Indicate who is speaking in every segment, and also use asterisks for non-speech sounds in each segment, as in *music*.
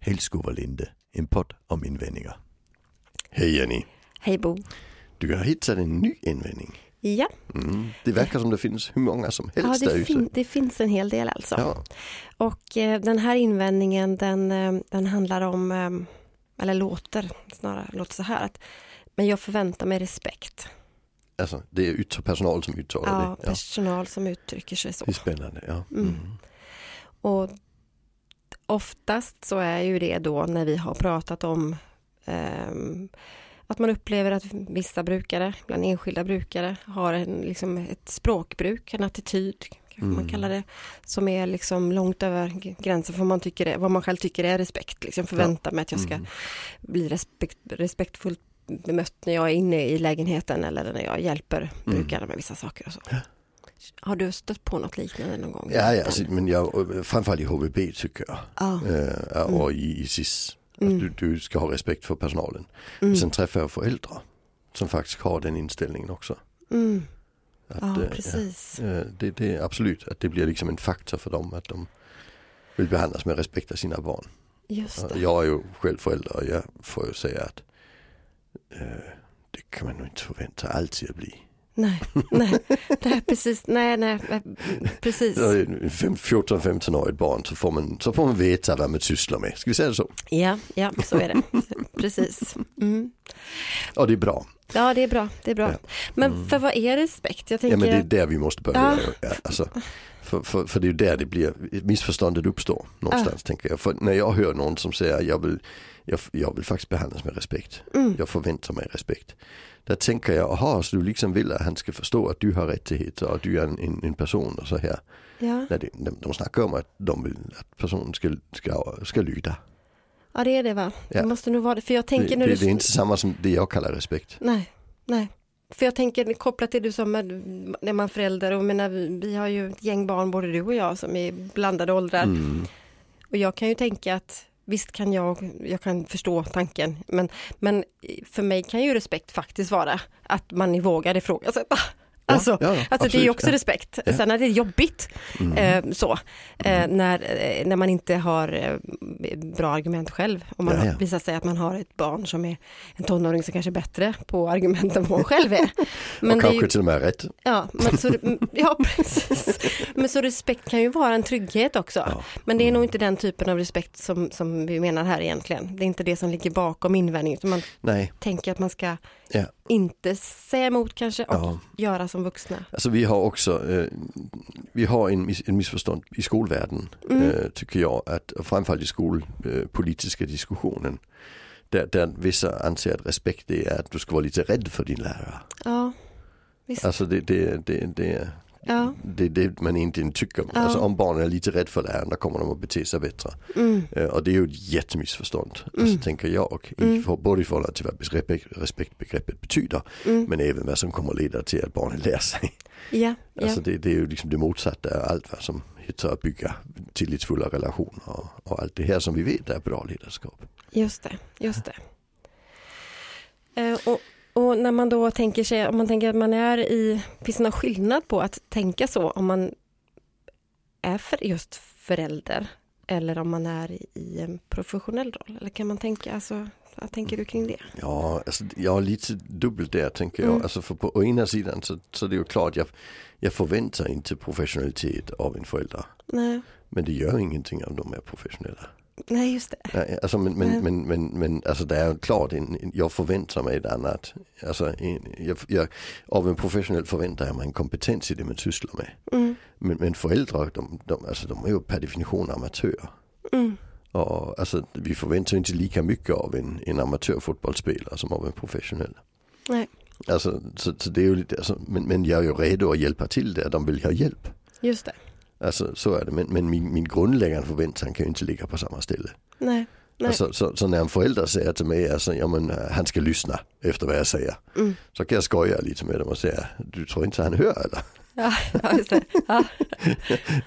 Speaker 1: Hällskovalinde, en podd om invändningar.
Speaker 2: Hej Jenny.
Speaker 3: Hej Bo.
Speaker 2: Du har hittat en ny invändning.
Speaker 3: Ja,
Speaker 2: Mm. Det verkar som det finns hur många som
Speaker 3: ja
Speaker 2: helst där
Speaker 3: Ah, det,
Speaker 2: ute.
Speaker 3: fin- det finns en hel del alltså.
Speaker 2: Ja.
Speaker 3: Och eh, den här invändningen den, eh, den handlar om, eh, eller låter snarare, låter så här att men jag förväntar mig respekt.
Speaker 2: Alltså, det är yttre personal som uttalar
Speaker 3: Ja,
Speaker 2: det. Ja.
Speaker 3: personal som uttrycker sig så.
Speaker 2: Det är spännande. Ja.
Speaker 3: Ah, Mm.
Speaker 2: Mm.
Speaker 3: Och oftast så är ju det då när vi har pratat om ehm, att man upplever att vissa brukare, bland enskilda brukare, har en, liksom ett språkbruk, en attityd, kanske man
Speaker 2: Mm.
Speaker 3: kallar det, som är liksom långt över g- gränsen för vad man, tycker är, vad man själv tycker är respekt. Liksom förvänta mig att jag ska
Speaker 2: Mm.
Speaker 3: bli respekt, respektfullt bemött när jag är inne i lägenheten eller när jag hjälper
Speaker 2: Mm.
Speaker 3: brukare med vissa saker och så. Har du stött på något liknande någon gång?
Speaker 2: Ja, ja, alltså, men jag, framförallt i HVB tycker jag.
Speaker 3: Ja.
Speaker 2: Eh, och i, i SIS. Att
Speaker 3: Ah. Mm.
Speaker 2: du, du ska ha respekt för personalen.
Speaker 3: Mm.
Speaker 2: Sen träffar jag föräldrar som faktiskt har den inställningen också.
Speaker 3: Mm.
Speaker 2: Att, eh,
Speaker 3: Ja,
Speaker 2: ja.
Speaker 3: precis.
Speaker 2: Eh, Det, det är absolut att det blir liksom en faktor för dem att de vill behandlas med respekt av sina barn.
Speaker 3: Just
Speaker 2: Och
Speaker 3: det. *laughs*
Speaker 2: Jag är ju själv förälder och jag får ju säga att eh, det kan man nog inte förvänta alltid att bli.
Speaker 3: Nej, nej, nej, precis. Nej, nej, nej, precis.
Speaker 2: Så en fem- 14-15-årigt barn så får, man, så får man veta vad man sysslar med. Ska vi säga det så?
Speaker 3: Ja, ja, så är det. Precis. Mm.
Speaker 2: Och det är bra.
Speaker 3: Ja, det är bra. Det är bra.
Speaker 2: Ja. Mm.
Speaker 3: Men för vad är respekt?
Speaker 2: Ja,
Speaker 3: Jag tänker,
Speaker 2: men det är
Speaker 3: ja,
Speaker 2: där vi måste börja. Ja. Alltså, för, för, för det är ju där det blir, missförståndet uppstår någonstans tänker jag. För när jag hör någon som säger jag vill, jag, jag vill faktiskt behandlas med respekt.
Speaker 3: Mm.
Speaker 2: Jag förväntar mig respekt. Där tänker jag, jaha, så du liksom vill att han ska förstå att du har rättigheter och att du är en, en, en person och så här.
Speaker 3: ja.
Speaker 2: När det, de, de snackar om att de vill att personen ska, ska, ska lyda.
Speaker 3: det är det va?
Speaker 2: Ja.
Speaker 3: Det måste nog vara det. För jag
Speaker 2: Det,
Speaker 3: tänker när
Speaker 2: det,
Speaker 3: du...
Speaker 2: det är inte samma som det jag kallar respekt.
Speaker 3: Nej, nej. För jag tänker kopplat till du som är, när man förälder och menar, vi, vi har ju ett gäng barn både du och jag som är blandade åldrar.
Speaker 2: Mm.
Speaker 3: Och jag kan ju tänka att visst kan jag, jag kan förstå tanken, men, men för mig kan ju respekt faktiskt vara att man vågar ifrågasätta. Alltså,
Speaker 2: ja,
Speaker 3: alltså det är
Speaker 2: absolut, Mm.
Speaker 3: ju också
Speaker 2: ja.
Speaker 3: respekt.
Speaker 2: Ja.
Speaker 3: Sen är det jobbigt eh, så, eh, när, eh, när man inte har eh, bra argument själv. Om man
Speaker 2: Ja, ja.
Speaker 3: har- visar sig att man har ett barn som är en tonåring som kanske är bättre på argument än vad hon
Speaker 2: *laughs*
Speaker 3: själv är. Men
Speaker 2: och
Speaker 3: det är
Speaker 2: kanske
Speaker 3: ju,
Speaker 2: till och med rätt.
Speaker 3: ja, men så, ja, *laughs* precis. Men så respekt kan ju vara en trygghet också.
Speaker 2: Ja.
Speaker 3: Men det är nog inte den typen av respekt som, som vi menar här egentligen. Det är inte det som ligger bakom invändningen. utan Man
Speaker 2: Nej,
Speaker 3: tänker att man ska
Speaker 2: ja.
Speaker 3: inte säga emot kanske och
Speaker 2: Ja.
Speaker 3: göra som vuxna.
Speaker 2: Alltså vi har också, eh, vi har en, miss, en missförstånd i skolvärlden eh, tycker jag, att, och framförallt i skolpolitiska diskussionen. Där, där vissa anser att respekt det är att du ska vara lite rädd för din lärare.
Speaker 3: Ja, visst.
Speaker 2: Alltså det, det, det, det,
Speaker 3: Ja,
Speaker 2: det är det man egentligen tycker.
Speaker 3: Ja.
Speaker 2: Alltså om barnen är lite rädda för läraren då kommer de att bete sig bättre.
Speaker 3: mm,
Speaker 2: Eh, och det är ju ett jättemissförstånd, alltså, tänker jag. I, för, både i förhållande till vad respekt, respektbegreppet betyder
Speaker 3: Mm.
Speaker 2: men även vad som kommer att leda till att barnen lär sig.
Speaker 3: ja, ja.
Speaker 2: Alltså det, det är ju liksom det motsatta av allt vad som heter att bygga tillitsfulla relationer och, och allt det här som vi vet är bra ledarskap.
Speaker 3: Just det, just det. Eh, och, och när man då tänker sig, om man tänker att man är i, finns det någon skillnad på att tänka så om man är för just förälder eller om man är i, i en professionell roll? Eller kan man tänka, alltså, vad tänker du kring det?
Speaker 2: Ja, alltså, jag är lite dubbel där tänker jag.
Speaker 3: Mm.
Speaker 2: Alltså för på, å ena sidan så, så det är ju klart jag, jag förväntar inte professionalitet av en förälder.
Speaker 3: Nej,
Speaker 2: Men det gör ingenting om de är professionella.
Speaker 3: nej just det.
Speaker 2: Nej, Alltså, men, men,
Speaker 3: Nej.
Speaker 2: men, men, men alltså det är ju klart, en, en, jag förväntar mig ett annat. Alltså, en, jag, jag, av en professionell förväntar jag mig en kompetens i det man sysslar med.
Speaker 3: Mm,
Speaker 2: Men, men föräldrar, de, de, alltså, de är ju per definition amatörer.
Speaker 3: mm,
Speaker 2: Och, alltså, vi förväntar ju inte lika mycket av en, en amatörfotbollsspelare som av en professionell.
Speaker 3: nej,
Speaker 2: Alltså, så, så det är ju lite, alltså, men, men jag är ju redo att hjälpa till där de vill ha hjälp.
Speaker 3: just det.
Speaker 2: Alltså, så är det, men, men min, min grundläggande förväntan kan ju inte ligga på samma ställe.
Speaker 3: Nej, nej.
Speaker 2: Alltså, så, så när en förälder säger till mig alltså, ja, men, eh, han ska lyssna efter vad jag säger.
Speaker 3: Mm.
Speaker 2: Så kan jag skoja lite med dem och säga, du tror inte han hör eller?
Speaker 3: Ja, *laughs* ja, just det. Ja,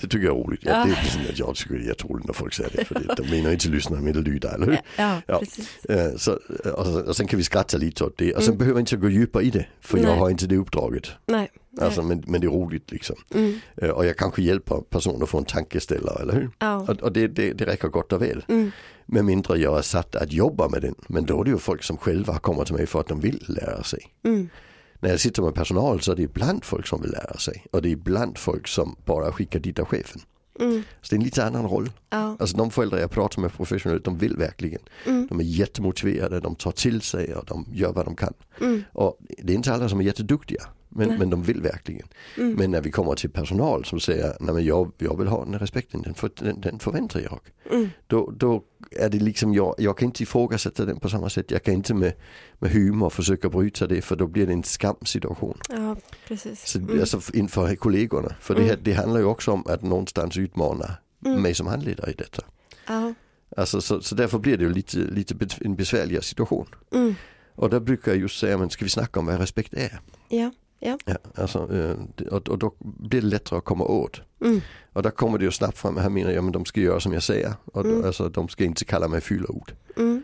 Speaker 2: Det tycker jag är roligt. Ja,
Speaker 3: Ja.
Speaker 2: Det är liksom att jag tycker det är jätteroligt när folk säger det. För det- de menar inte lyssna, de menar lyda, eller hur?
Speaker 3: ja,
Speaker 2: Ja.
Speaker 3: precis.
Speaker 2: Eh, Så, Alltså, och, och sen kan vi skratta lite åt det. Och sen behöver jag inte gå djupare i det. För jag
Speaker 3: Nej.
Speaker 2: har inte det uppdraget.
Speaker 3: Nej,
Speaker 2: Alltså, men, men det är roligt liksom.
Speaker 3: Mm.
Speaker 2: Eh, Och jag kanske hjälper personer att få en tankeställare, eller hur?
Speaker 3: Ja.
Speaker 2: Och, och det, det, det räcker gott och väl.
Speaker 3: Mm.
Speaker 2: Med mindre jag är satt att jobba med den. Men då är det ju folk som själva kommer till mig för att de vill lära sig.
Speaker 3: Mm.
Speaker 2: När jag sitter med personal så är det ibland folk som vill lära sig. Och det är ibland folk som bara skickar dit av chefen.
Speaker 3: Mm.
Speaker 2: Så det är en lite annan roll.
Speaker 3: Ja.
Speaker 2: Alltså de föräldrar jag pratar med professionellt, de vill verkligen.
Speaker 3: Mm.
Speaker 2: De är jättemotiverade, de tar till sig och de gör vad de kan.
Speaker 3: Mm.
Speaker 2: Och det är inte alla som är jätteduktiga, men,
Speaker 3: Nej.
Speaker 2: men de vill verkligen.
Speaker 3: Mm.
Speaker 2: Men när vi kommer till personal som säger, nej men jag, jag vill ha den här respekten, den, för, den, den förväntar jag.
Speaker 3: Mm.
Speaker 2: Då, då är det liksom, jag, jag kan inte ifrågasätta den på samma sätt. Jag kan inte med, med humor försöka bryta det, för då blir det en skamsituation.
Speaker 3: ja, precis. Mm.
Speaker 2: Så, Alltså inför kollegorna. För det, här, det handlar ju också om att någonstans utmana
Speaker 3: Mm.
Speaker 2: mig som handledare i detta.
Speaker 3: Ja.
Speaker 2: Alltså, så, så därför blir det ju lite, lite bet- en besvärligare situation.
Speaker 3: Mm.
Speaker 2: Och där brukar jag just säga, men ska vi snacka om vad respekt är?
Speaker 3: Ja. Ja.
Speaker 2: Ja, alltså, eh, det- och, och då blir det lättare att komma åt.
Speaker 3: Mm.
Speaker 2: Och där kommer det ju snabbt fram, här menar jag, men de ska göra som jag säger. Och då, Alltså de ska inte kalla mig fyllerord.
Speaker 3: Mm.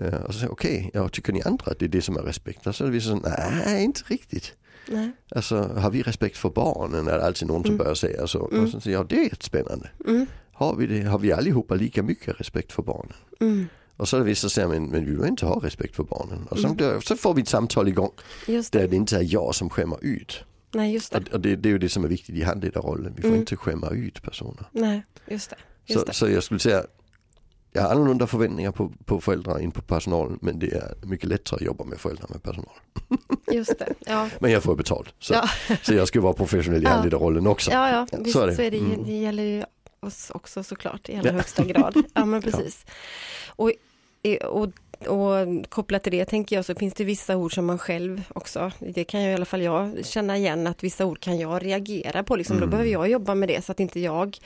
Speaker 2: Eh, och så säger jag, okej, jag tycker ni andra att det är det som är respekt? Och så är det vissa som, nej inte riktigt.
Speaker 3: Nej.
Speaker 2: Alltså har vi respekt för barnen? Är det alltid någon som börjar säga så. Och så säger jag, det är jättespännande.
Speaker 3: Mm.
Speaker 2: Har vi det? Har vi allihopa lika mycket respekt för barnen?
Speaker 3: Mm.
Speaker 2: Och så är det vissa som säger, men, men vi behöver inte ha respekt för barnen. Och så,
Speaker 3: Mm.
Speaker 2: så får vi ett samtal igång
Speaker 3: Just det.
Speaker 2: där det inte är jag som skämmer ut.
Speaker 3: Nej, just det.
Speaker 2: Och, och det, det är ju det som är viktigt i handledarrollen, vi får inte skämma ut personer.
Speaker 3: Nej, just det. Mm. Just
Speaker 2: Så,
Speaker 3: det.
Speaker 2: så jag skulle säga, jag har annorlunda förväntningar på, på föräldrar än på personalen, men det är mycket lättare att jobba med föräldrar än med personal.
Speaker 3: Just det. Ja.
Speaker 2: Men jag får betalt, så,
Speaker 3: Ja.
Speaker 2: så jag ska vara professionell i
Speaker 3: Ja.
Speaker 2: handledarrollen också.
Speaker 3: Ja, ja, visst så är det. ju- det,
Speaker 2: Mm.
Speaker 3: gäller ju oss också såklart i allra
Speaker 2: Ja.
Speaker 3: högsta *laughs* grad. Ja, men precis. Och, i- och, och kopplat till det tänker jag så finns det vissa ord som man själv också, det kan jag i alla fall jag känna igen, att vissa ord kan jag reagera på, liksom, då behöver jag jobba med det så att inte jag,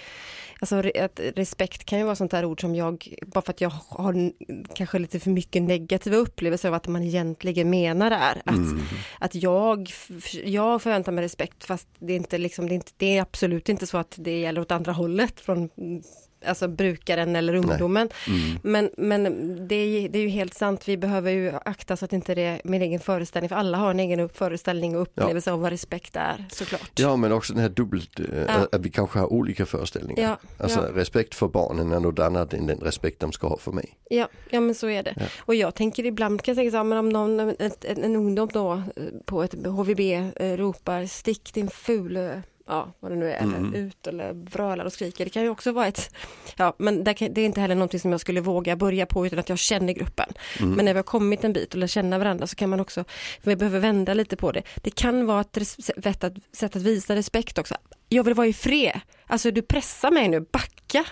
Speaker 3: alltså re, att respekt kan ju vara sånt där ord som jag, bara för att jag har n- kanske lite för mycket negativa upplevelser av att man egentligen menar är att,
Speaker 2: Mm-hmm.
Speaker 3: att jag, f- jag förväntar mig respekt fast det är, inte liksom, det, är inte, det är absolut inte så att det gäller åt andra hållet från mm, alltså brukaren eller ungdomen.
Speaker 2: Mm-hmm.
Speaker 3: Men, men det, är, det är ju helt sant, vi behöver ju akta så att inte det är min egen föreställning, för alla har en egen upp- föreställning och upplevelse av vad respekt är såklart.
Speaker 2: Ja men också den här dubbelt, eh,
Speaker 3: Ja.
Speaker 2: att vi kanske har olika föreställningar.
Speaker 3: Ja,
Speaker 2: alltså
Speaker 3: ja.
Speaker 2: respekt för barnen är något annat än den respekt de ska ha för mig.
Speaker 3: Ja, ja men så är det. Och jag tänker ibland kan jag tänka så här, men om någon, ett, en, en ungdom då eh, på ett HVB eh, ropar stick din ful, eh, ja vad det nu är, eller ut eller vrölar och skriker. Det kan ju också vara ett, ja men det, kan, det är inte heller någonting som jag skulle våga börja på utan att jag känner gruppen. Men när vi har kommit en bit och lär känna varandra så kan man också, för vi behöver vända lite på det. Det kan vara ett res- sätt att, sätt att visa respekt också. Jag vill vara i fred. Alltså du pressar mig nu, backa.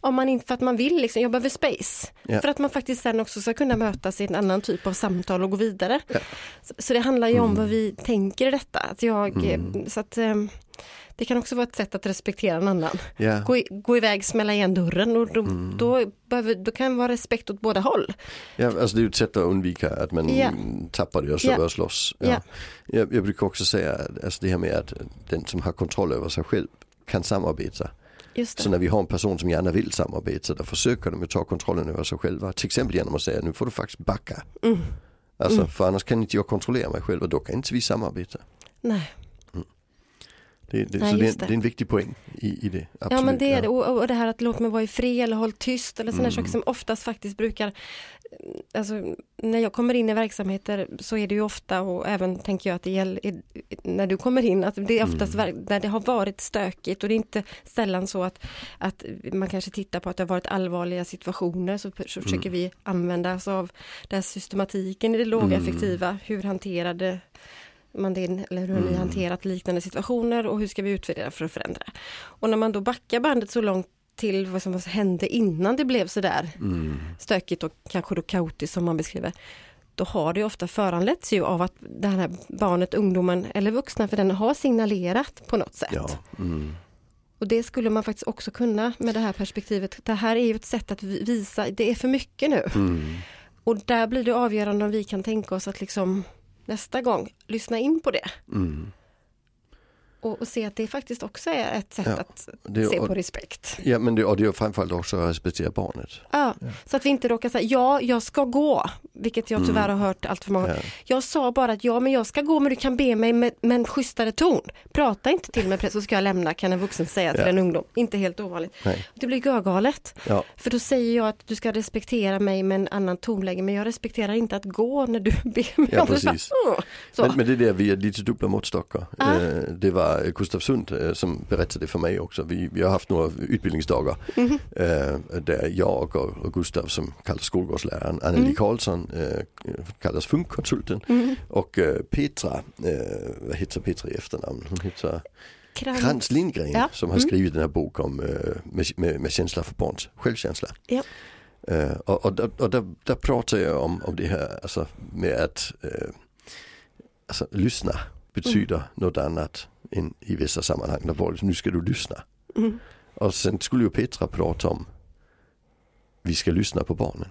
Speaker 3: Om man inte, för att man vill liksom, jag behöver space.
Speaker 2: Ja.
Speaker 3: För att man faktiskt sen också ska kunna mötas i en annan typ av samtal och gå vidare. Så, så det handlar ju
Speaker 2: Mm.
Speaker 3: om vad vi tänker i detta. Att jag, eh, så att, eh, det kan också vara ett sätt att respektera en annan.
Speaker 2: Ja.
Speaker 3: Gå, i, gå iväg, smälla igen dörren och då,
Speaker 2: Mm.
Speaker 3: då, behöver, då kan det vara respekt åt båda håll.
Speaker 2: Ja, alltså det är ju ett sätt att undvika att man
Speaker 3: Ja.
Speaker 2: tappar det och så
Speaker 3: Ja.
Speaker 2: börjar slåss. Ja.
Speaker 3: Ja.
Speaker 2: Jag, jag brukar också säga att, alltså det här med att den som har kontroll över sig själv kan samarbeta.
Speaker 3: Just
Speaker 2: Så
Speaker 3: det.
Speaker 2: när vi har en person som gärna vill samarbeta då försöker de ju ta kontrollen över sig själva. Till exempel genom att säga nu får du faktiskt backa.
Speaker 3: Mm.
Speaker 2: Alltså, För annars kan inte jag kontrollera mig själv och då kan inte vi samarbeta.
Speaker 3: Nej.
Speaker 2: Det, det,
Speaker 3: Nej,
Speaker 2: så det, är en-
Speaker 3: just
Speaker 2: det
Speaker 3: det.
Speaker 2: är en viktig poäng i, i det. Absolut,
Speaker 3: Ja men det är
Speaker 2: ja. Mm.
Speaker 3: det. Och, och det här att låt mig vara i fred eller håll tyst eller sådana saker som oftast faktiskt brukar eh, Alltså när jag kommer in i verksamheter så är det ju ofta och även tänker jag att det gäller i- när du kommer in att det är oftast ver- när det har varit stökigt och det är inte sällan så att, att man kanske tittar på att det har varit allvarliga situationer så, så försöker vi använda oss av den här systematiken i det lågaffektiva. Hur hanterade man det, eller hur har ni hanterat liknande situationer och hur ska vi utvärdera för att förändra? Och när man då backar bandet så långt till vad som hände innan det blev sådär
Speaker 2: Mm.
Speaker 3: stökigt och kanske då kaotiskt som man beskriver, då har det ju ofta föranletts ju av att det här barnet, ungdomen eller vuxna för den har signalerat på något sätt.
Speaker 2: Ja, mm.
Speaker 3: Och det skulle man faktiskt också kunna med det här perspektivet. Det här är ju ett sätt att vi- visa, det är för mycket nu.
Speaker 2: Mm.
Speaker 3: Och där blir det avgörande om vi
Speaker 2: Mm.
Speaker 3: kan tänka oss att liksom nästa gång lyssna in på det. Och, och se att det faktiskt också är ett sätt
Speaker 2: Ja,
Speaker 3: att
Speaker 2: Det,
Speaker 3: se på
Speaker 2: och,
Speaker 3: respekt.
Speaker 2: ja, men det, och det är framförallt också att respektera barnet.
Speaker 3: Ja, Så att vi inte råkar säga, ja, jag ska gå, vilket jag tyvärr har hört allt för många.
Speaker 2: Mm. Ja.
Speaker 3: Jag sa bara att ja, men jag ska gå, men du kan be mig med, med en schysstare ton. Prata inte till mig, så ska jag lämna, kan en vuxen säga till
Speaker 2: Ja.
Speaker 3: en ungdom. Inte helt ovanligt.
Speaker 2: Nej.
Speaker 3: Det blir görgalet.
Speaker 2: Ja.
Speaker 3: För då säger jag att du ska respektera mig med en annan tonläge, men jag respekterar inte att gå när du *laughs* ber mig
Speaker 2: Ja,
Speaker 3: om det. Så bara,
Speaker 2: precis.
Speaker 3: "Åh." Så.
Speaker 2: Men, men det är där vi är lite dubbla måttstockar. Eh, Det var eh, Gustav Sund eh, som berättade för mig också. Vi, vi har haft några utbildningsdagar eh, där jag och, och Gustav som kallas skolgårdsläraren, Anneli Karlsson eh, kallas funkkonsulten och eh, Petra, eh, vad heter Petra i efternamn? Hon heter
Speaker 3: Krans.
Speaker 2: Krantz Lindgren
Speaker 3: Ja.
Speaker 2: som har skrivit den här boken om eh, med, med, med känsla för barns självkänsla.
Speaker 3: Ja.
Speaker 2: Eh, och och, där, och där, där pratar jag om, om det här alltså, med att eh, alltså, lyssna betyder
Speaker 3: Mm.
Speaker 2: något annat än i vissa sammanhang. Där folk, nu ska du lyssna.
Speaker 3: Mm.
Speaker 2: Och sen skulle ju Petra prata om vi ska lyssna på barnen.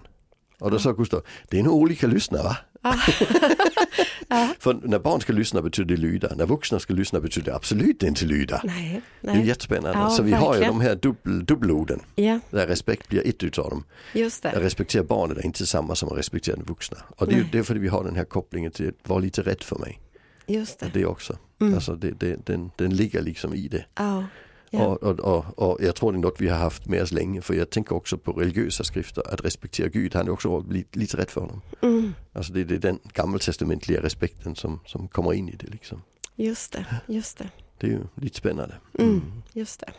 Speaker 2: Och då sa Gustav, det är nog olika lyssna va?
Speaker 3: Ah.
Speaker 2: *laughs* För när barn ska lyssna betyder det lyda, när vuxna ska lyssna betyder det absolut inte lyda.
Speaker 3: Nej,
Speaker 2: Det är
Speaker 3: nej.
Speaker 2: jättespännande.
Speaker 3: Ja,
Speaker 2: så vi har ju
Speaker 3: verkligen.
Speaker 2: de här dubbel, dubbelorden.
Speaker 3: Ja,
Speaker 2: Där respekt blir ett utav dem.
Speaker 3: just
Speaker 2: Att
Speaker 3: det.
Speaker 2: respektera barnet är inte samma som att respektera den vuxna. Och det är ju
Speaker 3: Nej.
Speaker 2: därför vi har den här kopplingen till att vara lite rädd för mig.
Speaker 3: Just det.
Speaker 2: Det också.
Speaker 3: Mm.
Speaker 2: Alltså det, det, den, den ligger liksom i det.
Speaker 3: Ja. Ja.
Speaker 2: Och, och, och, och jag tror det är något vi har haft med oss länge. För jag tänker också på religiösa skrifter. Att respektera Gud, han är också lite, lite rädd för honom.
Speaker 3: Mm.
Speaker 2: Alltså det, det är den gammaltestamentliga respekten som, som kommer in i det. Liksom.
Speaker 3: Just det, just det.
Speaker 2: Det är ju lite spännande.
Speaker 3: Mm. Just det.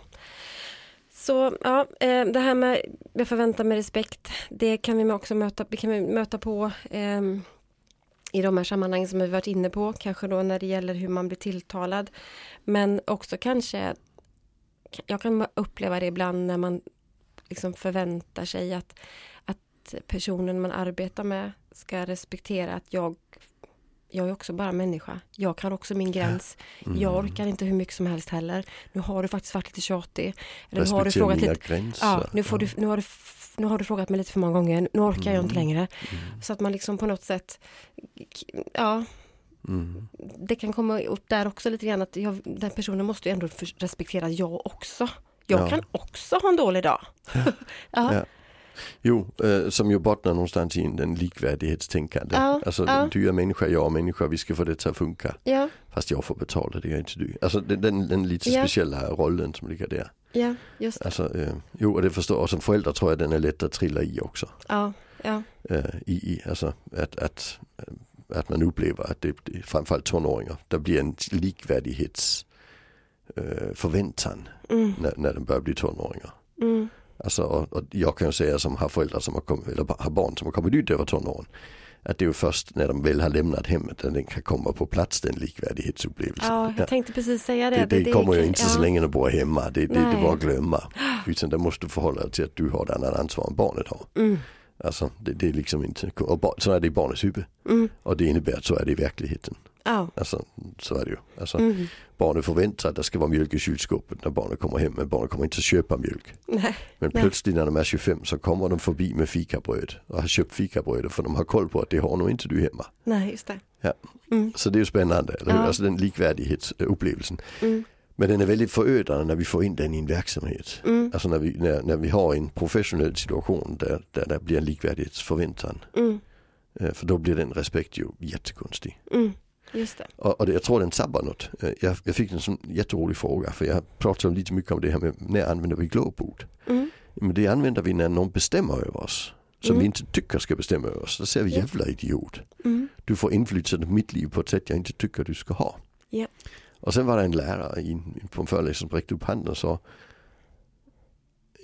Speaker 3: Så ja, eh, det här med jag förväntar mig respekt, det kan vi också möta, vi kan vi möta på ehm, i de här sammanhangen som vi varit inne på, kanske då när det gäller hur man blir tilltalad. Men också kanske, jag kan uppleva det ibland när man liksom förväntar sig att, att personen man arbetar med ska respektera att jag, jag är också bara människa. Jag kan också min gräns.
Speaker 2: Mm.
Speaker 3: Jag orkar inte hur mycket som helst heller. Nu har du faktiskt varit lite tjatig. Eller nu har du
Speaker 2: Respektera
Speaker 3: frågat
Speaker 2: mina
Speaker 3: lite,
Speaker 2: gränser.
Speaker 3: Ja, nu, får du, nu, har du, f- nu har du frågat mig lite för många gånger, nu orkar jag
Speaker 2: Mm.
Speaker 3: inte längre. Så att man liksom på något sätt, k- ja,
Speaker 2: Mm.
Speaker 3: det kan komma upp där också lite grann att jag, den personen måste ju ändå för- respektera jag också. Jag
Speaker 2: Ja.
Speaker 3: kan också ha en dålig dag. *laughs* ja.
Speaker 2: Ja. Jo, eh, som ju bottnar någonstans i en likvärdighetstänkande.
Speaker 3: Ja,
Speaker 2: alltså
Speaker 3: ja.
Speaker 2: du är människa, jag är människa, vi ska få det att funka.
Speaker 3: ja,
Speaker 2: Fast jag får betala, det gör inte du. Alltså den, den, den lite
Speaker 3: Ja.
Speaker 2: speciella rollen som ligger där.
Speaker 3: ja, just det.
Speaker 2: Alltså, eh, jo, och det förstår jag. Och som förälder tror jag den är lätt att trilla i också.
Speaker 3: Ja, ja,
Speaker 2: Eh, i, i, alltså att, att, eh, att man upplever att det, det framförallt tonåringar, där blir en likvärdighets eh, förväntan
Speaker 3: mm,
Speaker 2: när, när de börjar bli tonåringar.
Speaker 3: mm,
Speaker 2: Alltså, och, och jag kan ju säga som har föräldrar som har kommit, eller ba- har barn som har kommit ut över tonåren. Att det är ju först när de väl har lämnat hemmet när den kan komma på plats den likvärdighetsupplevelsen.
Speaker 3: ja, jag tänkte precis säga det.
Speaker 2: det, det, kommer ju
Speaker 3: kan-
Speaker 2: inte så
Speaker 3: ja.
Speaker 2: länge de bor hemma, det, det, det
Speaker 3: Nej.
Speaker 2: bara att glömma. Utan där måste du förhålla dig till att du har ett annat ansvar än barnet har.
Speaker 3: Mm,
Speaker 2: Alltså det, det är liksom inte, och bar, så är det i barnets huvud.
Speaker 3: mm,
Speaker 2: Och det innebär att så är det i verkligheten.
Speaker 3: ja, *laughs*
Speaker 2: Alltså så är det ju. Alltså,
Speaker 3: mm,
Speaker 2: Barnet förväntar sig att det ska vara mjölk i kylskåpet när barnet kommer hem. Men barnet kommer inte att köpa mjölk.
Speaker 3: nej,
Speaker 2: Men
Speaker 3: Nej.
Speaker 2: plötsligt när de är 25 så kommer de förbi med fikabröd och har köpt fikabröd för de har koll på att det har nog inte du hemma.
Speaker 3: nej, just det.
Speaker 2: Ja.
Speaker 3: Mm,
Speaker 2: Så det är ju spännande, eller hur?
Speaker 3: Ja.
Speaker 2: Alltså den likvärdighetsupplevelsen.
Speaker 3: mm,
Speaker 2: Men den är väldigt förödande när vi får in den i en verksamhet.
Speaker 3: mm,
Speaker 2: Alltså när vi, när, när vi har en professionell situation där, där det blir en likvärdighetsförväntan.
Speaker 3: mm,
Speaker 2: Eh, För då blir den respekt ju jättekonstig.
Speaker 3: mm, just det.
Speaker 2: Och, och det, jag tror den sabbar något. Eh, Jag, jag fick en sån jätterolig fråga för jag pratade lite mycket om det här med när använder vi glåpord?
Speaker 3: Mm,
Speaker 2: Men det använder vi när någon bestämmer över oss. Som
Speaker 3: Mm.
Speaker 2: vi inte tycker ska bestämma över oss. Då säger vi
Speaker 3: Ja.
Speaker 2: jävla idiot.
Speaker 3: mm,
Speaker 2: Du får inflytande på mitt liv på ett sätt jag inte tycker du ska ha.
Speaker 3: Ja.
Speaker 2: Och sen var det en lärare i en, på en föreläsning som räckte upp handen och sa.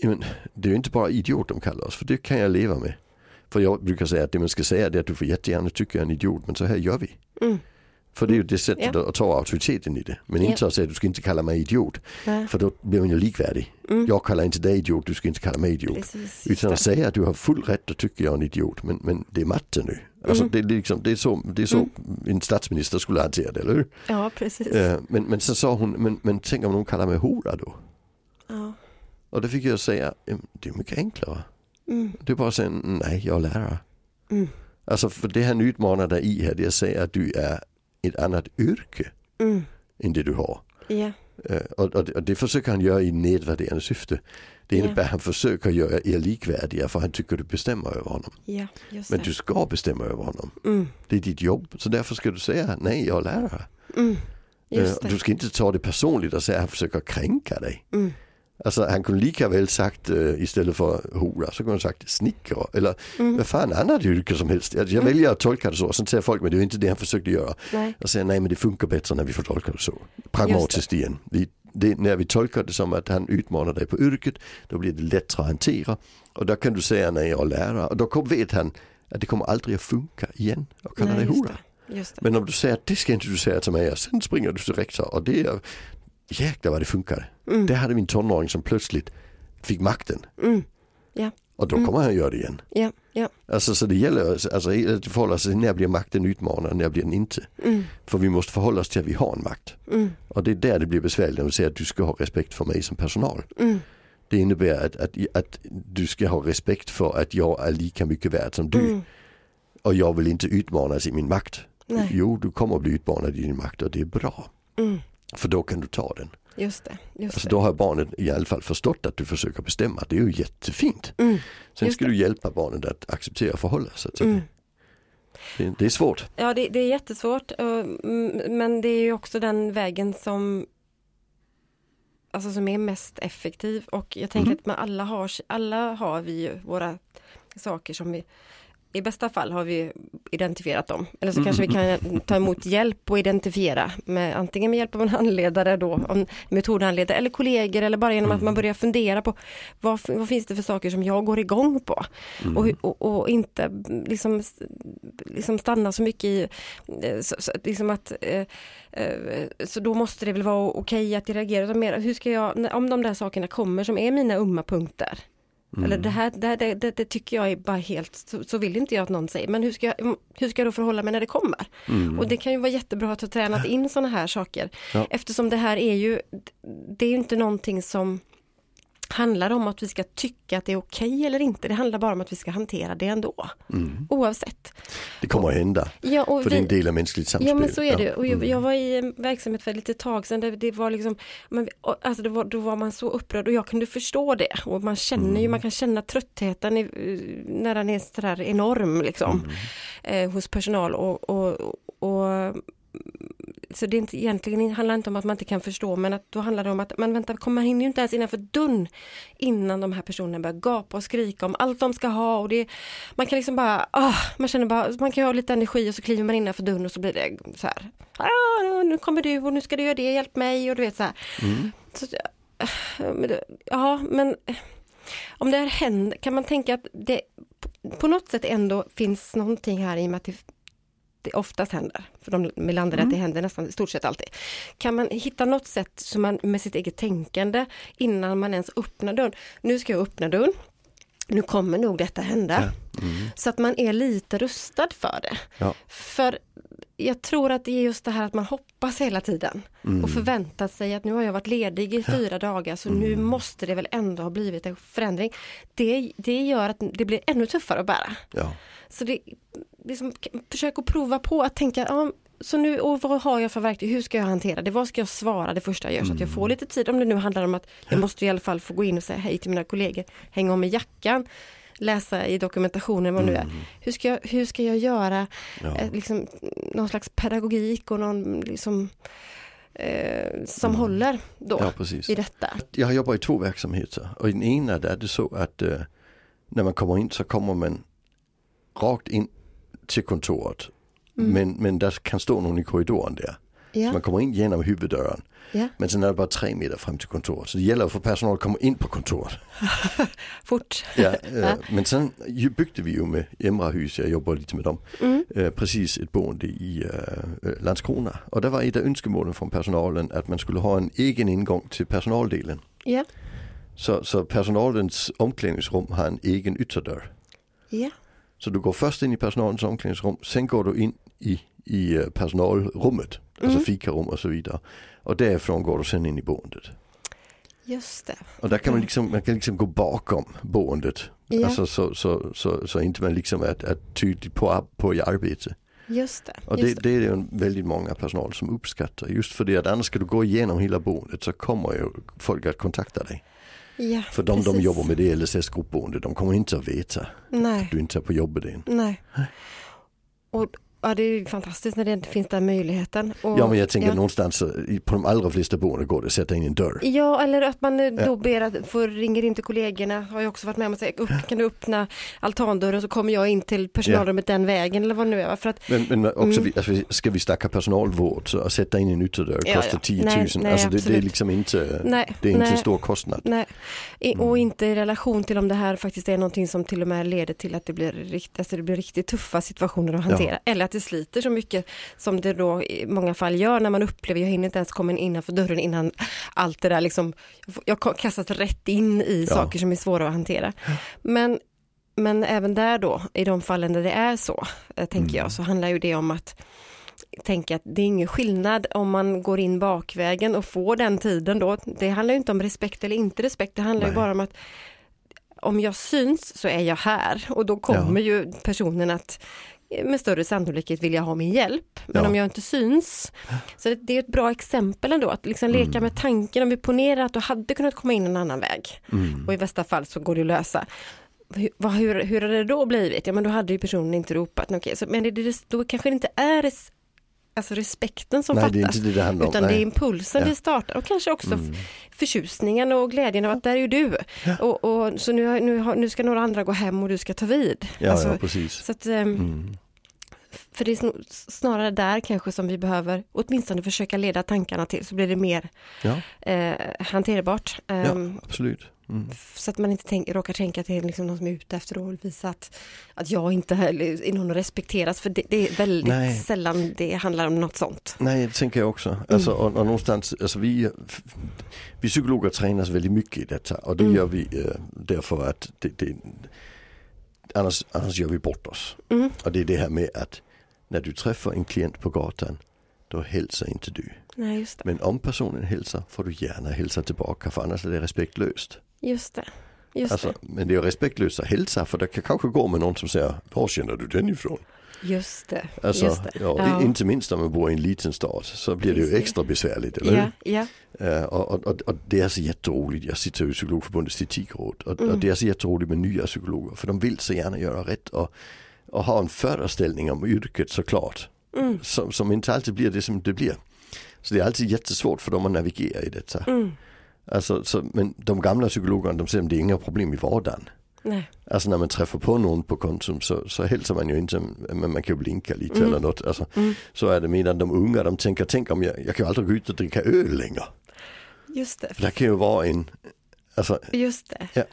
Speaker 2: Men, det är ju inte bara idiot de kallar oss för det kan jag leva med. För jag brukar säga att det man ska säga det är att du får jättegärna tycka jag är en idiot men så här gör vi.
Speaker 3: mm,
Speaker 2: För det är ju det sättet
Speaker 3: Ja.
Speaker 2: att ta auktoriteten i det. Men
Speaker 3: Ja.
Speaker 2: inte att säga att du ska inte kalla mig idiot.
Speaker 3: nej,
Speaker 2: För då blir man ju likvärdig.
Speaker 3: mm,
Speaker 2: Jag kallar inte dig idiot, du ska inte kalla mig idiot.
Speaker 3: precis. just
Speaker 2: Utan att
Speaker 3: det.
Speaker 2: säga att du har full rätt att tycka jag är en idiot. Men, men det är matte nu. Alltså
Speaker 3: Mm.
Speaker 2: det, är liksom, det är så, det är så en statsminister skulle hantera det, eller hur?
Speaker 3: Ja, precis.
Speaker 2: Eh, Men, men så sa hon, men, men tänk om någon kallar mig hora då?
Speaker 3: Ja,
Speaker 2: Och då fick jag säga, "Ehm, det är mycket enklare.
Speaker 3: mm,
Speaker 2: Det är bara att säga, nej jag är lärare.
Speaker 3: Mm.
Speaker 2: Alltså för det han utmanar dig i här, det är att säga att du är ett annat yrke
Speaker 3: mm,
Speaker 2: än det du har.
Speaker 3: ja,
Speaker 2: Eh, Och, och, det, och det försöker han göra i nedvärderande syfte. Det
Speaker 3: Ja.
Speaker 2: innebär att han försöker göra er likvärdiga för han tycker du bestämmer över honom.
Speaker 3: ja, just
Speaker 2: Men
Speaker 3: det.
Speaker 2: du ska bestämma över honom.
Speaker 3: Mm,
Speaker 2: Det är ditt jobb. Så därför ska du säga nej, jag är lärare.
Speaker 3: mm,
Speaker 2: Eh,
Speaker 3: just
Speaker 2: och Du
Speaker 3: det.
Speaker 2: ska inte ta det personligt och säga att han försöker kränka dig.
Speaker 3: Mm,
Speaker 2: Alltså han kunde lika väl sagt eh, istället för hora så kunde han sagt snickare eller
Speaker 3: Mm.
Speaker 2: vad fan annat yrke som helst. Jag, jag väljer att tolka det så. Sen säger folk men det är inte det han försökte göra.
Speaker 3: nej,
Speaker 2: Jag säger nej men det funkar bättre när vi får tolka det så. Pragmatiskt igen. Vi, det, när vi tolkar det som att han utmanar dig på yrket då blir det lättare att hantera. Och då kan du säga nej jag är lärare. Och då kom- vet han att det kommer aldrig att funka igen och kalla
Speaker 3: nej,
Speaker 2: dig
Speaker 3: just
Speaker 2: hora.
Speaker 3: det. Just det.
Speaker 2: Men om du säger att det ska inte du säga till mig och sen springer du till rektor och det är jäklar vad det funkar.
Speaker 3: Mm.
Speaker 2: Där hade vi en tonåring som plötsligt fick makten
Speaker 3: Mm. Ja,
Speaker 2: och
Speaker 3: Mm.
Speaker 2: då kommer han att göra det igen.
Speaker 3: ja, ja.
Speaker 2: Alltså så det gäller alltså, att förhålla sig till när blir makten utmanande och när blir den inte.
Speaker 3: Mm,
Speaker 2: För vi måste förhålla oss till att vi har en makt.
Speaker 3: mm,
Speaker 2: Och det är där det blir besvärligt när vi säger att du ska ha respekt för mig som personal.
Speaker 3: mm,
Speaker 2: Det innebär att, att, att du ska ha respekt för att jag är lika mycket värd som du.
Speaker 3: mm.
Speaker 2: Och jag vill inte utmanas i min makt.
Speaker 3: Nej.
Speaker 2: Jo, du kommer att bli utmanad i din makt och det är bra.
Speaker 3: Mm.
Speaker 2: För då kan du ta den.
Speaker 3: Just det, just
Speaker 2: Alltså
Speaker 3: det.
Speaker 2: då har barnet i alla fall förstått att du försöker bestämma. Det är ju jättefint.
Speaker 3: Mm,
Speaker 2: Sen
Speaker 3: Just
Speaker 2: ska
Speaker 3: det.
Speaker 2: du hjälpa barnet att acceptera och förhålla sig till
Speaker 3: mm.
Speaker 2: det. det. Det är svårt.
Speaker 3: Ja, det, det är jättesvårt. eh, m- Men det är ju också den vägen som Alltså som är mest effektiv och jag tänker att man alla har, alla har vi ju våra saker som vi I bästa fall har vi identifierat dem. Eller så kanske vi kan ta emot hjälp och identifiera. Med, antingen med hjälp av en handledare då, av en metodhandledare eller kollegor eller bara genom att man börjar fundera på vad, f- vad finns det för saker som jag går igång på? Och, hu- och, och inte liksom, s- liksom stanna så mycket i, eh, så, så, att liksom att, eh, eh, så då måste det väl vara okej att jag reagerar. utan Mer, hur ska jag, när- om de där sakerna kommer som är mina umma punkter. Eller det här, det, här det, det, det tycker jag är bara helt, så, så vill inte jag att någon säger. Men hur ska, jag, hur ska jag då förhålla mig när det kommer? Och det kan ju vara jättebra att ha tränat in sådana här saker.
Speaker 2: Ja.
Speaker 3: Eftersom det här är ju, det är ju inte någonting som handlar om att vi ska tycka att det är okej eller inte. Det handlar bara om att vi ska hantera det ändå. Oavsett.
Speaker 2: Det kommer att hända.
Speaker 3: Ja, och
Speaker 2: För det är en del av mänskligt samspel.
Speaker 3: Ja men så är det. Och jag,
Speaker 2: Mm.
Speaker 3: jag var i en verksamhet för ett litet tag sedan där det var liksom, men, och, alltså det var, då var man så upprörd och jag kunde förstå det. Och man känner
Speaker 2: Mm.
Speaker 3: ju, man kan känna tröttheten i, eh, när den är sådär enorm liksom
Speaker 2: Mm.
Speaker 3: eh, hos personal. Och, och, och, så det är inte, egentligen handlar det inte om att man inte kan förstå men att då handlar det om att men vänta, kom, man hinner ju inte ens innanför dörren innan de här personerna börjar gapa och skrika om allt de ska ha och det man kan liksom bara, ah, man känner bara, man kan ju ha lite energi och så kliver man innanför dörren och så blir det så här, ah, nu- nu kommer du och nu ska du göra det, hjälp mig och du vet så här. Så, eh, men det- ja, men eh, om det här händer, kan man tänka att det på- på något sätt ändå finns någonting här i och med att det, det oftast händer, för de vi landar i att det händer nästan i stort sett alltid. Kan man hitta något sätt som man med sitt eget tänkande innan man ens öppnar dörren, nu ska jag öppna dörren, nu kommer nog detta hända. Så att man är lite rustad för det.
Speaker 2: Ja.
Speaker 3: För jag tror att det är just det här att man hoppas hela tiden och förväntar sig att nu har jag varit ledig i fyra dagar så nu måste det väl ändå ha blivit en förändring. Det, det gör att det blir ännu tuffare att bära.
Speaker 2: Ja.
Speaker 3: Så det, liksom, k- försök att prova på att tänka, ja, så nu, och vad har jag för verktyg, hur ska jag hantera det, vad ska jag svara det första jag gör så att jag får lite tid, om det nu handlar om att jag måste i alla fall få gå in och säga hej till mina kollegor, hänga om i jackan, läsa i dokumentationen vad det nu är. Hur ska jag, hur ska jag göra
Speaker 2: Ja.
Speaker 3: eh, liksom, någon slags pedagogik och någon liksom, eh, som håller då
Speaker 2: Mm. ja, precis.
Speaker 3: i detta.
Speaker 2: Jag har jobbat i två verksamheter och i den ena där är det så att eh, när man kommer in så kommer man rakt in till kontoret. Men, men där kan stå någon i korridoren där. Så
Speaker 3: Mm. Ja,
Speaker 2: man kommer in genom huvuddörren.
Speaker 3: ja.
Speaker 2: Men sen är det bara tre meter fram till kontoret. Så det gäller att få personal att komma in på kontoret.
Speaker 3: Fort.
Speaker 2: Ja, eh, Men sen ju byggde vi ju med Emrahus, jag jobbar lite med dem, eh, precis ett boende i eh, eh, Landskrona. Och där var ett av önskemålen från personalen att man skulle ha en egen ingång till personaldelen.
Speaker 3: Ja,
Speaker 2: Så, så personalens omklädningsrum har en egen ytterdörr.
Speaker 3: ja,
Speaker 2: Så du går först in i personalens omklädningsrum, sen går du in i, i eh, personalrummet, alltså fikarum och så vidare. Och därifrån går du sen in i boendet.
Speaker 3: just det.
Speaker 2: Och där kan man liksom, man kan liksom gå bakom boendet.
Speaker 3: Ja.
Speaker 2: Alltså så, så, så, så inte man liksom är, är tydlig på, ar- på i arbete.
Speaker 3: Just det.
Speaker 2: Och det,
Speaker 3: just
Speaker 2: det. är ju en väldigt många personal som uppskattar just för det att annars ska du gå igenom hela boendet så kommer ju folk att kontakta dig.
Speaker 3: det. Ja,
Speaker 2: För de
Speaker 3: precis.
Speaker 2: de jobbar med det LSS gruppboende de kommer inte att veta
Speaker 3: Nej.
Speaker 2: att du inte är på jobbet än.
Speaker 3: Nej. Och ja, det är ju fantastiskt när det inte finns den möjligheten. Och,
Speaker 2: Ja men jag tänker
Speaker 3: ja.
Speaker 2: någonstans eh, i- på de allra flesta boenden går det att sätta in en dörr.
Speaker 3: Ja, eller att man eh, då ber att, för ringer inte kollegorna, har jag också varit med om att säga, upp, kan du öppna altandörren så kommer jag in till personalrummet den vägen eller vad det nu är. va? För att,
Speaker 2: Men, men också,
Speaker 3: Mm.
Speaker 2: vi, alltså, ska vi snacka personalvård så att sätta in en ytterdörr
Speaker 3: Ja,
Speaker 2: kostar
Speaker 3: ja.
Speaker 2: 10 000.
Speaker 3: Nej, nej,
Speaker 2: alltså, det, det är
Speaker 3: absolut.
Speaker 2: liksom inte,
Speaker 3: Nej,
Speaker 2: det är inte en
Speaker 3: nej.
Speaker 2: stor kostnad.
Speaker 3: nej, I, och inte i relation till om det här faktiskt är någonting som till och med leder till att det blir, rikt, alltså det blir riktigt tuffa situationer att hantera. Eller att det sliter så mycket som det då i många fall gör när man upplever, jag hinner inte ens komma in innanför dörren innan allt det där liksom, jag får- jag ko- kastas rätt in i
Speaker 2: Ja.
Speaker 3: saker som är svåra att hantera. Men Men även där då, i de fallen där det är så, eh, tänker jag, så handlar ju det om att tänka att det är ingen skillnad om man går in bakvägen och får den tiden då. Det handlar ju inte om respekt eller inte respekt, det handlar ju
Speaker 2: Nej.
Speaker 3: bara om att om jag syns så är jag här och då kommer ju personen att eh, med större sannolikhet vilja ha min hjälp. Men
Speaker 2: Ja.
Speaker 3: om jag inte syns, så det, det är ett bra exempel ändå, att liksom leka
Speaker 2: Mm.
Speaker 3: med tanken, om vi ponerar att du hade kunnat komma in en annan väg
Speaker 2: Mm.
Speaker 3: och i bästa fall så går det att lösa. Hur, vad, hur, hur hade det då blivit? Ja men då hade ju personen inte ropat, okay, så, men det, det, då kanske det inte är res, alltså respekten som
Speaker 2: Nej
Speaker 3: fattas.
Speaker 2: det är inte det det handlar om.
Speaker 3: Utan det är
Speaker 2: nej.
Speaker 3: impulsen
Speaker 2: Ja. Mm.
Speaker 3: vi startar och kanske också f- förtjusningen och glädjen av att där är ju du. Och, och, så nu, har- nu, har- nu ska några andra gå hem och du ska ta vid.
Speaker 2: ja,
Speaker 3: Alltså,
Speaker 2: ja precis.
Speaker 3: Så att, ehm,
Speaker 2: Mm.
Speaker 3: För det är sn- snarare där kanske som vi behöver åtminstone försöka leda tankarna till så blir det mer
Speaker 2: Ja,
Speaker 3: eh, hanterbart. Ehm,
Speaker 2: ja absolut. Mm.
Speaker 3: f- Så att man inte tänk, råkar tänka att det är liksom någon som är ute efter att visa att, att jag inte heller är någon att respekteras. För det, det är väldigt
Speaker 2: Nej.
Speaker 3: sällan det handlar om något sånt.
Speaker 2: Nej, det tänker jag också. Alltså,
Speaker 3: Mm.
Speaker 2: och, och någonstans, alltså vi, vi psykologer tränas väldigt mycket i detta och det
Speaker 3: Mm.
Speaker 2: gör vi eh, därför att det, det, annars, annars gör vi bort oss.
Speaker 3: Mm.
Speaker 2: Och det är det här med att när du träffar en klient på gatan då hälsar inte du.
Speaker 3: Nej, just det.
Speaker 2: Men om personen hälsar får du gärna hälsa tillbaka för annars är det respektlöst.
Speaker 3: Just det. Just
Speaker 2: Alltså, men det är ju respektlöst att hälsa för det kan kanske gå med någon som säger Var känner du den ifrån?
Speaker 3: det. Just det.
Speaker 2: Alltså,
Speaker 3: just det.
Speaker 2: Ja, i- Inte minst om man bor i en liten stad så blir det ju
Speaker 3: Precis.
Speaker 2: extra besvärligt, eller hur?
Speaker 3: ja, ja.
Speaker 2: Eh, och, och- och, och det är så jätteroligt, jag sitter ju i Psykologförbundets etikråd och,
Speaker 3: Mm.
Speaker 2: och det är så jätteroligt med nya psykologer för de vill så gärna göra rätt och, och ha en föreställning om yrket såklart.
Speaker 3: Mm.
Speaker 2: Som, som inte alltid blir det som det blir. Så det är alltid jättesvårt för dem att navigera i detta.
Speaker 3: Mm.
Speaker 2: Alltså, så, men de gamla psykologerna de säger att det är inga problem i vardagen.
Speaker 3: Nej.
Speaker 2: Alltså när man träffar på någon på Konsum så, så hälsar man ju inte, men man kan ju blinka lite
Speaker 3: Mm.
Speaker 2: eller något. Alltså, Så är det medan de unga de tänker, tänk om jag, jag kan ju aldrig gå ut och dricka öl längre.
Speaker 3: Just det.
Speaker 2: För det kan ju vara en, alltså,
Speaker 3: Just det.
Speaker 2: ja,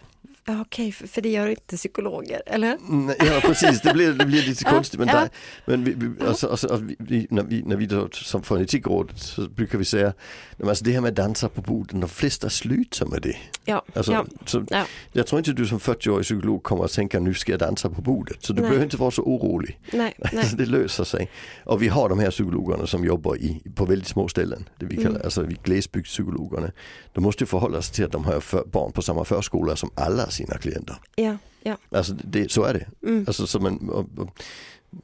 Speaker 3: Ja, okej, för, för det gör inte psykologer, eller?
Speaker 2: nej, ja precis det blir, det blir lite konstigt. Men,
Speaker 3: ja.
Speaker 2: där, men vi, vi, alltså, alltså, alltså, vi- vi, när vi, när vi då, som från Etikrådet så brukar vi säga, "Nej, men alltså, det här med att dansa på borden, de flesta slutar med det.
Speaker 3: Ja,
Speaker 2: Alltså,
Speaker 3: ja.
Speaker 2: så,
Speaker 3: ja.
Speaker 2: jag tror inte du som 40-årig psykolog kommer att tänka nu ska jag dansa på bordet. Så du
Speaker 3: Nej.
Speaker 2: behöver inte vara så orolig.
Speaker 3: Nej, nej.
Speaker 2: *laughs* Alltså, det löser sig. Och vi har de här psykologerna som jobbar i, på väldigt små ställen. Det vi kallar,
Speaker 3: Mm.
Speaker 2: alltså vi glesbygdspsykologerna. De måste ju förhålla sig till att de har för, barn på samma förskola som alla sina klienter.
Speaker 3: Ja, Mm. ja.
Speaker 2: Alltså det, så är det. Alltså, så man, och, och,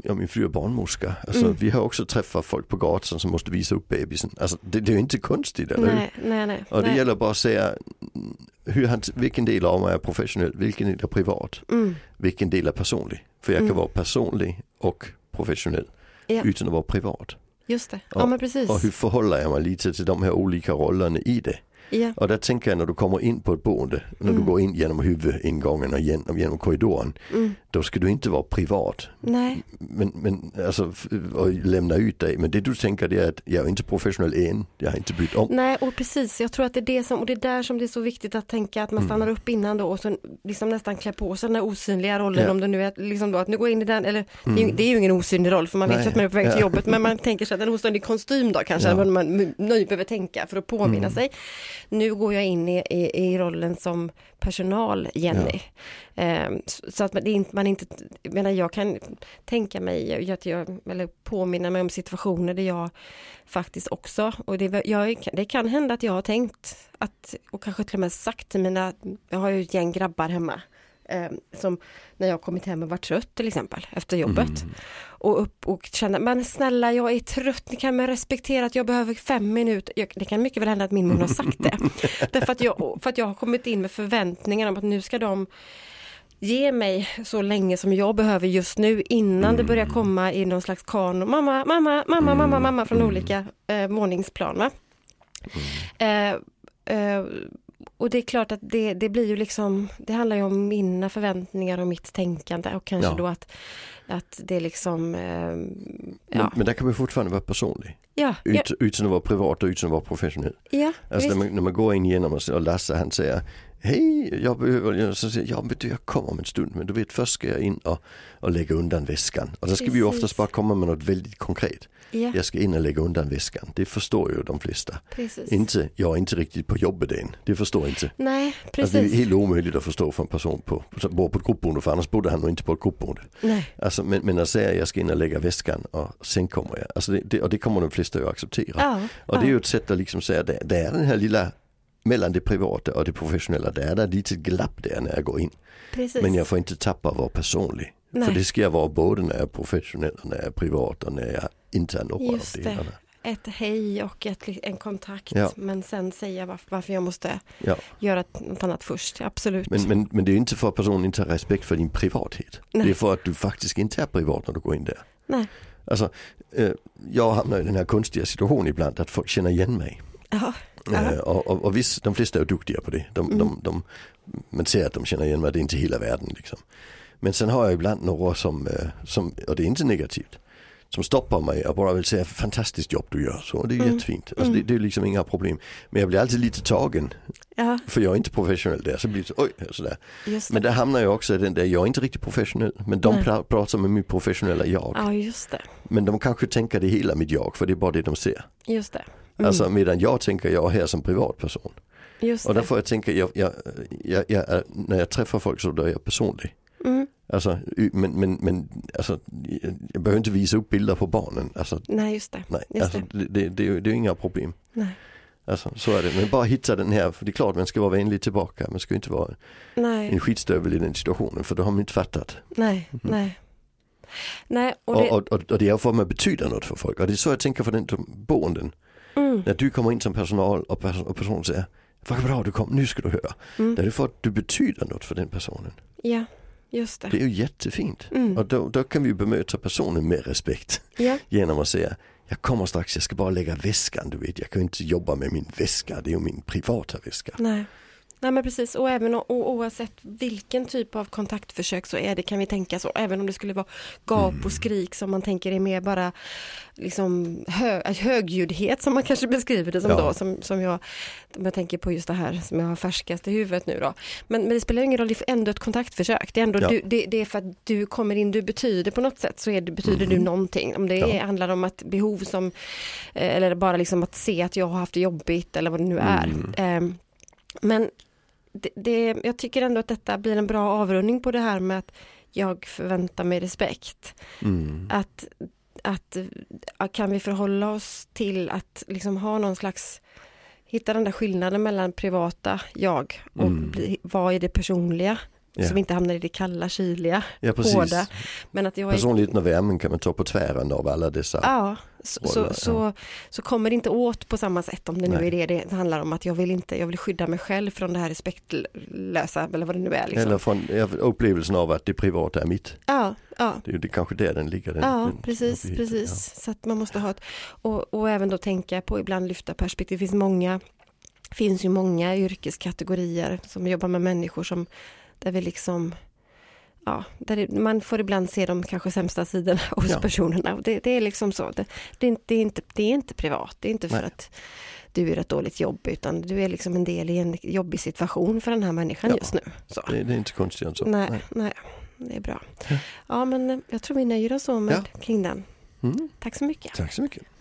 Speaker 2: ja, min fru är barnmorska. Alltså,
Speaker 3: Mm.
Speaker 2: Vi har också träffat folk på gatan som måste visa upp bebisen. Alltså, det, det är ju inte konstigt, eller hur?
Speaker 3: Nej, nej, nej.
Speaker 2: Och det
Speaker 3: nej.
Speaker 2: gäller bara att säga mm, hur han, vilken del av mig är professionell, vilken del är privat,
Speaker 3: Mm.
Speaker 2: vilken del är personlig. För jag kan vara personlig och professionell
Speaker 3: Ja.
Speaker 2: utan att vara privat.
Speaker 3: Just det. Ja,
Speaker 2: Och-
Speaker 3: men precis.
Speaker 2: Och hur förhåller jag mig lite till de här olika rollerna i det?
Speaker 3: Ja,
Speaker 2: Och där tänker jag när du kommer in på ett boende, när
Speaker 3: Mm.
Speaker 2: du går in genom huvudingången och genom, genom korridoren, då ska du inte vara privat.
Speaker 3: Mm. nej.
Speaker 2: Men, men alltså, f- och lämna ut dig. Men det du tänker det är att jag är inte professionell än, jag har inte bytt om.
Speaker 3: Nej, och precis. Jag tror att det är det som, och det är där som det är så viktigt att tänka att man
Speaker 2: Mm.
Speaker 3: stannar upp innan då och så liksom nästan klär på sig den här osynliga rollen
Speaker 2: Ja. Mm.
Speaker 3: om det nu är liksom då att nu går jag in i den, eller det, är ju, det är ju ingen osynlig roll för man vet
Speaker 2: Nej.
Speaker 3: ju att man är på väg
Speaker 2: Ja.
Speaker 3: till jobbet, men man tänker sig att en osynlig kostym då kanske,
Speaker 2: Ja. Mm.
Speaker 3: vad man m- nöjd behöver tänka för att påminna sig. Nu går jag in i, i, i rollen som personal-Jenny. Ehm, så- så att man, det är inte, man inte, jag menar jag kan tänka mig, att jag, eller påminna mig om situationer där jag faktiskt också. Och det, är väl- jag, det kan hända att jag har tänkt att, och kanske till och med sagt till mina, jag har ju ett gäng grabbar hemma. Eh, som när jag kommit hem och varit trött till exempel efter jobbet. Och upp och känna, men snälla jag är trött, ni kan väl respektera att jag behöver fem minuter. Jag, det kan mycket väl hända att min mun har sagt det. Därför att jag, för att jag har kommit in med förväntningar om att nu ska de ge mig så länge som jag behöver just nu innan det börjar komma i någon slags kanon. Mamma, mamma, mamma, mamma, mamma från olika eh, våningsplan. Va?
Speaker 2: Mm.
Speaker 3: Eh, eh, och det är klart att det, det blir ju liksom, det handlar ju om mina förväntningar och mitt tänkande och kanske
Speaker 2: Ja.
Speaker 3: då att, att det liksom, eh,
Speaker 2: Men,
Speaker 3: ja,
Speaker 2: men där kan man fortfarande vara personlig.
Speaker 3: ja, ja,
Speaker 2: Mm. Ut, utan att vara privat och utan att vara professionell.
Speaker 3: ja,
Speaker 2: Alltså när
Speaker 3: visst.
Speaker 2: man, när man går in genom och, så- och Lasse han säger Hej, jag behöver, jag, så säger, jag, "Ja, vet du, jag kommer om en stund men du vet först ska jag in och, och lägga undan väskan. Och då ska vi ju
Speaker 3: Precis.
Speaker 2: oftast bara komma med något väldigt konkret.
Speaker 3: ja,
Speaker 2: Jag ska in och lägga undan väskan, det förstår ju de flesta.
Speaker 3: precis.
Speaker 2: Inte, jag är inte riktigt på jobbet än, det förstår inte.
Speaker 3: Nej, precis.
Speaker 2: Alltså, det är helt omöjligt att förstå för en person på, som bor på ett gruppboende för annars bodde han nog inte på ett gruppboende.
Speaker 3: Nej,
Speaker 2: Alltså, men, men att säga jag ska in och lägga väskan och sen kommer jag. Alltså, det, det, och det kommer de flesta att acceptera.
Speaker 3: ja,
Speaker 2: Och det
Speaker 3: ja.
Speaker 2: är ju ett sätt att liksom säga, det, det är den här lilla, mellan det privata och det professionella, det är där lite glapp där när jag går in.
Speaker 3: precis.
Speaker 2: Men jag får inte tappa att vara personlig.
Speaker 3: Nej.
Speaker 2: För det ska jag vara både när jag är professionell och när jag är privat och när jag inte är någon av
Speaker 3: Just det.
Speaker 2: delarna.
Speaker 3: ett hej och ett, li- en kontakt.
Speaker 2: Ja.
Speaker 3: Men sen säga varför, varför jag måste
Speaker 2: Ja.
Speaker 3: göra ett- något annat först. Absolut.
Speaker 2: Men, men, men det är ju inte för att personen inte har respekt för din privathet.
Speaker 3: Nej.
Speaker 2: Det är för att du faktiskt inte är privat när du går in där.
Speaker 3: Nej.
Speaker 2: Alltså, eh, jag hamnar i den här konstiga situationen ibland att folk känner igen mig.
Speaker 3: Ja. Ja.
Speaker 2: Eh, Och, och, och visst, de flesta är ju duktiga på det. De,
Speaker 3: Mm.
Speaker 2: de, de, man ser att de känner igen mig, det är inte hela världen. Liksom. Men sen har jag ibland några som, eh, som, och det är inte negativt, som stoppar mig och bara vill säga fantastiskt jobb du gör. Så det
Speaker 3: Mm.
Speaker 2: är jättefint. Alltså, det, det är liksom inga problem. Men jag blir alltid lite tagen,
Speaker 3: ja,
Speaker 2: för jag är inte professionell där. Så blir det så, oj, sådär.
Speaker 3: just
Speaker 2: Men
Speaker 3: det.
Speaker 2: där hamnar jag också i den där, jag är inte riktigt professionell. Men de
Speaker 3: Nej.
Speaker 2: pra, pratar med mitt professionella jag.
Speaker 3: Ja, just det.
Speaker 2: Men de kanske tänker det är hela mitt jag, för det är bara det de ser.
Speaker 3: Just det. Mm.
Speaker 2: Alltså medan jag tänker jag här som privatperson.
Speaker 3: Just
Speaker 2: Och
Speaker 3: det.
Speaker 2: därför jag tänker jag, jag, jag, jag, är- när jag träffar folk så då är jag personlig.
Speaker 3: Mm.
Speaker 2: Alltså, y- men, men, men alltså, jag behöver inte visa upp bilder på barnen. Alltså,
Speaker 3: Nej, just det.
Speaker 2: nej,
Speaker 3: Just
Speaker 2: alltså, det, det, det, är ju- det är ju inga problem.
Speaker 3: Nej.
Speaker 2: Alltså, så är det, men bara hitta den här, för det är klart man ska vara vänlig tillbaka. Man ska ju inte vara
Speaker 3: Nej,
Speaker 2: en skitstövel i den situationen för då har man inte fattat.
Speaker 3: nej, nej. Nej, och
Speaker 2: Och,
Speaker 3: det...
Speaker 2: och, och, och det är för att man betyder något för folk. Och det är så jag tänker för den boenden.
Speaker 3: Mm,
Speaker 2: När du kommer in som personal och, pers- och personen säger vad bra du kom, nu ska du höra. Det
Speaker 3: mm.
Speaker 2: är det för att du betyder något för den personen.
Speaker 3: Ja, just det.
Speaker 2: Det är ju jättefint.
Speaker 3: Mm.
Speaker 2: Och då, då kan vi ju bemöta personen med respekt
Speaker 3: Ja,
Speaker 2: genom att säga jag kommer strax, jag ska bara lägga väskan du vet. Jag kan ju inte jobba med min väska, det är ju min privata väska.
Speaker 3: nej. Nej men precis, och även o- och oavsett vilken typ av kontaktförsök så är det, kan vi tänka så, även om det skulle vara gap
Speaker 2: Mm.
Speaker 3: och skrik som man tänker är mer bara liksom hö, högljuddhet som man kanske beskriver det som
Speaker 2: Ja.
Speaker 3: då, som, som jag, om jag tänker på just det här som jag har färskast i huvudet nu då. Men, men det spelar ju ingen roll, det är ändå ett kontaktförsök, det är, ändå
Speaker 2: Ja.
Speaker 3: du, det, det är för att du kommer in, du betyder på något sätt, så är det, betyder du någonting. Om det
Speaker 2: Mm. Ja.
Speaker 3: är, handlar om att behov som, eh, eller bara liksom att se att jag har haft det jobbigt eller vad det
Speaker 2: Mm.
Speaker 3: nu är. Ehm, men det, det, jag tycker ändå att detta blir en bra avrundning på det här med att jag förväntar mig respekt.
Speaker 2: Mm.
Speaker 3: Att, att ja, kan vi förhålla oss till att liksom ha någon slags hitta den där skillnaden mellan privata jag och
Speaker 2: Mm.
Speaker 3: bli, vad är det personliga
Speaker 2: Ja.
Speaker 3: som inte hamnar i det kalla, kyliga,
Speaker 2: Ja precis.
Speaker 3: hårda. Men att jag är
Speaker 2: Personligheten och värmen kan man ta på tvären av alla dessa.
Speaker 3: Ja, så,
Speaker 2: Håller,
Speaker 3: så,
Speaker 2: ja.
Speaker 3: så, så kommer det inte åt på samma sätt om det nu
Speaker 2: Nej.
Speaker 3: är det det handlar om. Att jag vill inte, jag vill skydda mig själv från det här respektlösa eller vad det nu är. Liksom.
Speaker 2: Eller från ja, upplevelsen av att det privata är mitt.
Speaker 3: Ja, ja.
Speaker 2: Det är ju det, kanske där den ligger. Den,
Speaker 3: Ja,
Speaker 2: den,
Speaker 3: precis,
Speaker 2: den-
Speaker 3: precis. Så att man måste ha ett, och, och även då tänka på ibland lyfta perspektiv. Det finns många, finns ju många yrkeskategorier som jobbar med människor som, där vi liksom, ja, där det, man får ibland se de kanske sämsta sidorna *laughs* hos
Speaker 2: Ja.
Speaker 3: personerna. Och det, det är liksom så, det, det, är inte, det, är inte, det är inte privat, det är inte för
Speaker 2: Nej.
Speaker 3: att du gör ett dåligt jobb, utan du är liksom en del i en jobbig situation för den här människan
Speaker 2: Ja.
Speaker 3: just nu. Så.
Speaker 2: Ja. Det, det är inte konstigt alltså. än så.
Speaker 3: Nej, nej. det är bra. Ja, men eh, jag tror vi nöjer oss så med kring den.
Speaker 2: Mm.
Speaker 3: Tack så mycket.
Speaker 2: Tack så mycket.